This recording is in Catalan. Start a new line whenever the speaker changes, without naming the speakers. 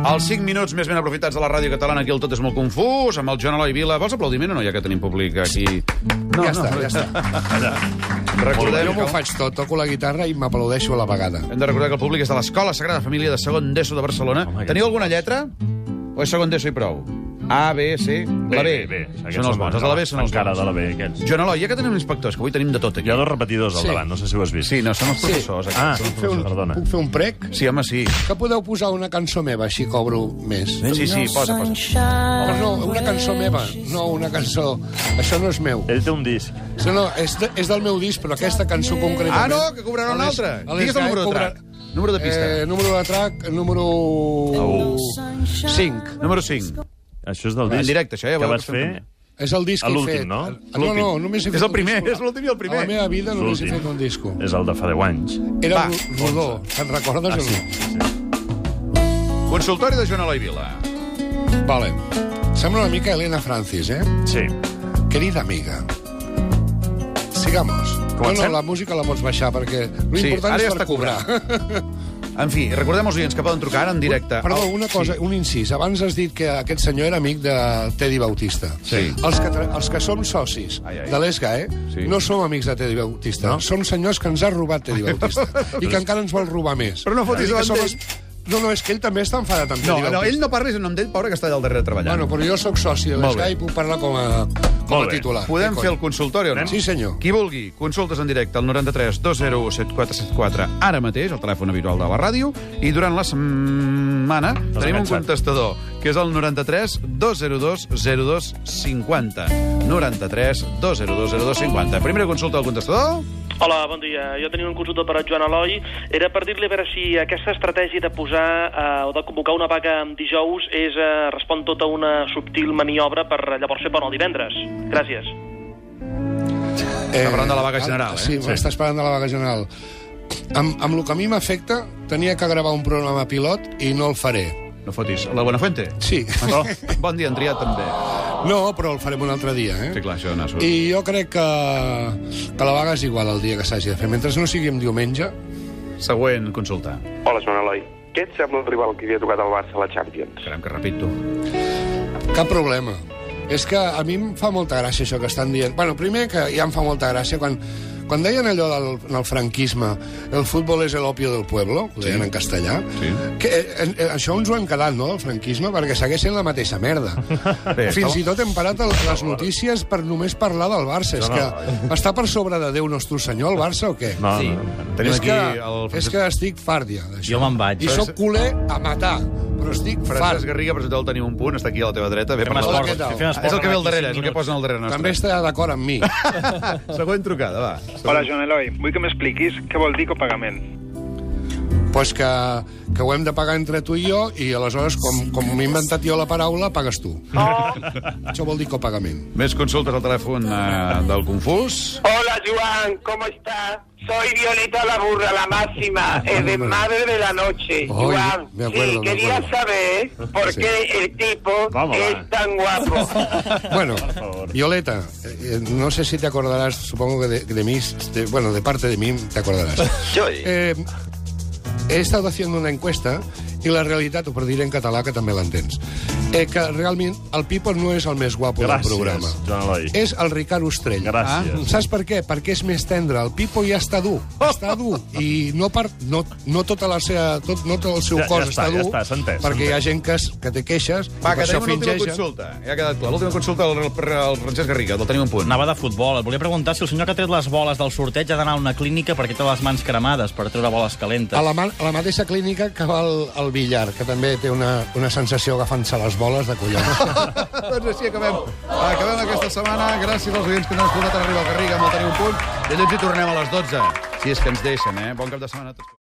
Els 5 minuts més ben aprofitats de la ràdio catalana, aquí el tot és molt confús, amb el Joan Eloi Vila. Vols aplaudiment o no, ja que tenim públic aquí?
No, ja no, està, ja està.
Recordem
Jo m'ho
que...
faig tot, toco la guitarra i m'aplaudeixo a la vegada.
Hem de recordar que el públic és de l'Escola Sagrada Família de segon d'ESO de Barcelona. Home, Teniu alguna lletra? O és segon d'ESO i prou? A, B, C, la B. Són els bons. Els de la B són els
Encara
bons.
de la B, aquests.
Joan Eloi, ja que tenim inspectors, que avui tenim de tot
Hi
aquí.
ha dos repetidors al
Sí.
davant, no sé si ho has vist.
Sí, no, són els
Sí.
professors.
Ah,
aquests.
Fer un,
perdona.
puc fer un prec?
Sí, home, sí.
Que podeu posar una cançó meva, així cobro més.
Sí, sí, posa, posa.
Oh, no, una cançó meva, no una cançó... Això no és meu.
Ell té un disc.
No, no, és, de, és del meu disc, però aquesta cançó concretament...
Ah, no, que cobrarà una
Alex-
altra.
Alex
Digues el
Guy
número de
cobra-
track. Número de pista.
Eh, número de track, número... 5.
Número 5.
Això és
Ah,
del
En
disc.
directe, això, ja
que
veureu
vas
que
fer...
estem
És el disc
A
que he
l'últim,
fet. Ah,
no?
No,
L'últim.
no, només he fet
És el
un
primer,
disco.
és l'últim i el primer. Eh,
A la meva vida només he
L'últim.
fet un disco.
És el de fa 10 anys.
Era
Va. Ah,
ro- rodó, te'n recordes o no?
Consultori de Joan Eloi Vila.
Vale. Sembla una mica Elena Francis, eh?
Sí.
Querida amiga, sigamos.
Comencem?
No, no, la música la pots baixar, perquè l'important
ara ja
és
està
per cobrar.
En fi, recordem els oients que poden trucar ara en directe. Oh,
Perdó,
al-
una cosa, un incís. Abans has dit que aquest senyor era amic de Teddy Bautista.
Sí.
Els que, tra- els que som socis
Ai, ai.
de l'ESGAE
Sí.
no som amics de Teddy Bautista. No? Som senyors que ens ha robat Teddy Bautista i que encara ens vol robar més.
Però no fotis
Vull dir que
davant
som els- No, no, és que ell també està enfadat amb
No,
Teddy
no,
Bautista.
ell no parli en nom d'ell, pobre, que està allà al darrere treballant.
Bueno, però jo sóc soci de
Molt bé.
l'ESGAE i puc parlar com a, com
Molt
a
bé.
titular.
Podem
Què
fer
coi?
el consultori o no?
Sí, senyor.
Qui vulgui, consultes en directe al 93 201 7474 ara mateix, el telèfon habitual de la ràdio, i durant la setmana tenim un
enganxat.
contestador, que és el 93 202 0250. 93 202 0250. Primera consulta al contestador.
Hola, bon dia. Jo tenia un consulta per a Joan Eloi. Era per dir-li a veure si aquesta estratègia de posar eh, o de convocar una vaga en dijous és, eh, respon tota una subtil maniobra per eh, llavors fer pont el divendres. Gràcies.
Eh,
parlant de la vaga general, eh?
Sí,
Sí.
m'estàs parlant de la vaga general. Amb, amb el que a mi m'afecta, tenia que gravar un programa pilot i no el faré.
No fotis. La Buenafuente?
Sí.
Oh, bon dia, en Triat, també.
No, però el farem un altre dia, eh?
Sí, clar, això no surt.
I jo crec que, que la vaga és igual el dia que s'hagi de fer. Mentre no sigui en diumenge...
Següent consulta.
Hola, Joan Eloi. Què et sembla el rival que li ha tocat al Barça a la Champions?
Caram, que repito.
Cap problema. És que a mi em fa molta gràcia això que estan dient. Bueno, primer que ja em fa molta gràcia quan, quan deien allò del, en el franquisme el futbol és el opio del pueblo, ho deien en castellà,
Sí.
que, eh, eh, això ens ho hem quedat, no?, el franquisme, perquè segueix sent la mateixa merda.
Bé,
Fins i tot hem parat el, les notícies per només parlar del Barça. És que està per sobre de Déu nostre senyor, el Barça, o què?
No, sí. no, no.
Tenim
és,
aquí
que,
el
és
Francesc,
que estic fart ja d'això.
Jo me'n vaig.
I sóc culer a matar, però estic
Francesc
fart.
Garriga, per total, teniu un punt, està aquí a la teva dreta. Bé,
Fem
parlat.
esport.
esport.
què tal?
Fem
Ah,
esport
és el que ve al
d'aquí cinc
darrere, és el que
minuts.
posen al darrere nostre.
També està d'acord amb mi.
Següent trucada, va.
Hola, Joan Eloi. Vull que m'expliquis què vol dir copagament.
pues que, que ho hem de pagar entre tu i jo i aleshores, com, com m'he inventat jo la paraula, pagues tu. Això vol dir copagament.
Més consultes al telèfon eh, del Confús.
Hola, Joan, ¿cómo estás? Soy Violeta la burra, la máxima, eh, de madre de la noche.
Oy,
Joan,
me acuerdo,
sí,
me
quería
acuerdo.
saber por
Sí.
qué el tipo
Vamos,
es
va.
tan guapo.
Bueno, Violeta, eh, eh, no sé si te acordarás, supongo que de, de mí, de- bueno, de parte de mí te acordarás.
Yo,
Eh, he estado haciendo una encuesta i la realitat, ho per dir en català, que també l'entens, eh, que realment el Pipo no és el més guapo
Gràcies,
del programa.
Joan Eloi.
És el Ricard Ostrell. Ah.
Gràcies.
Saps per què? Perquè és més tendre. El Pipo ja està dur. Està dur. I no, per, no, no, tota la seva, tot, no tot el seu
Ja- ja
cos
està, ja
dur,
està, s'ha entès, s'ha
perquè hi ha gent que, es- que té queixes,
Va,
i per
que
això eh?
tenim una última
fingeixen...
consulta. Ja ha quedat clar. L'última consulta al, al Francesc Garriga, del tenim un punt.
Anava de futbol. Et volia preguntar si el senyor que ha tret les boles del sorteig ha d'anar a una clínica perquè té les mans cremades per treure boles calentes.
A la, ma- a la mateixa clínica que va el, el billar, que també té una, una sensació agafant-se les boles de collons.
doncs així acabem. Acabem aquesta setmana. Gràcies als oients que no ens han escoltat arribar al Garriga amb el tenim un punt. I llavors hi tornem a les 12, si és que ens deixen, eh? Bon cap de setmana a tots.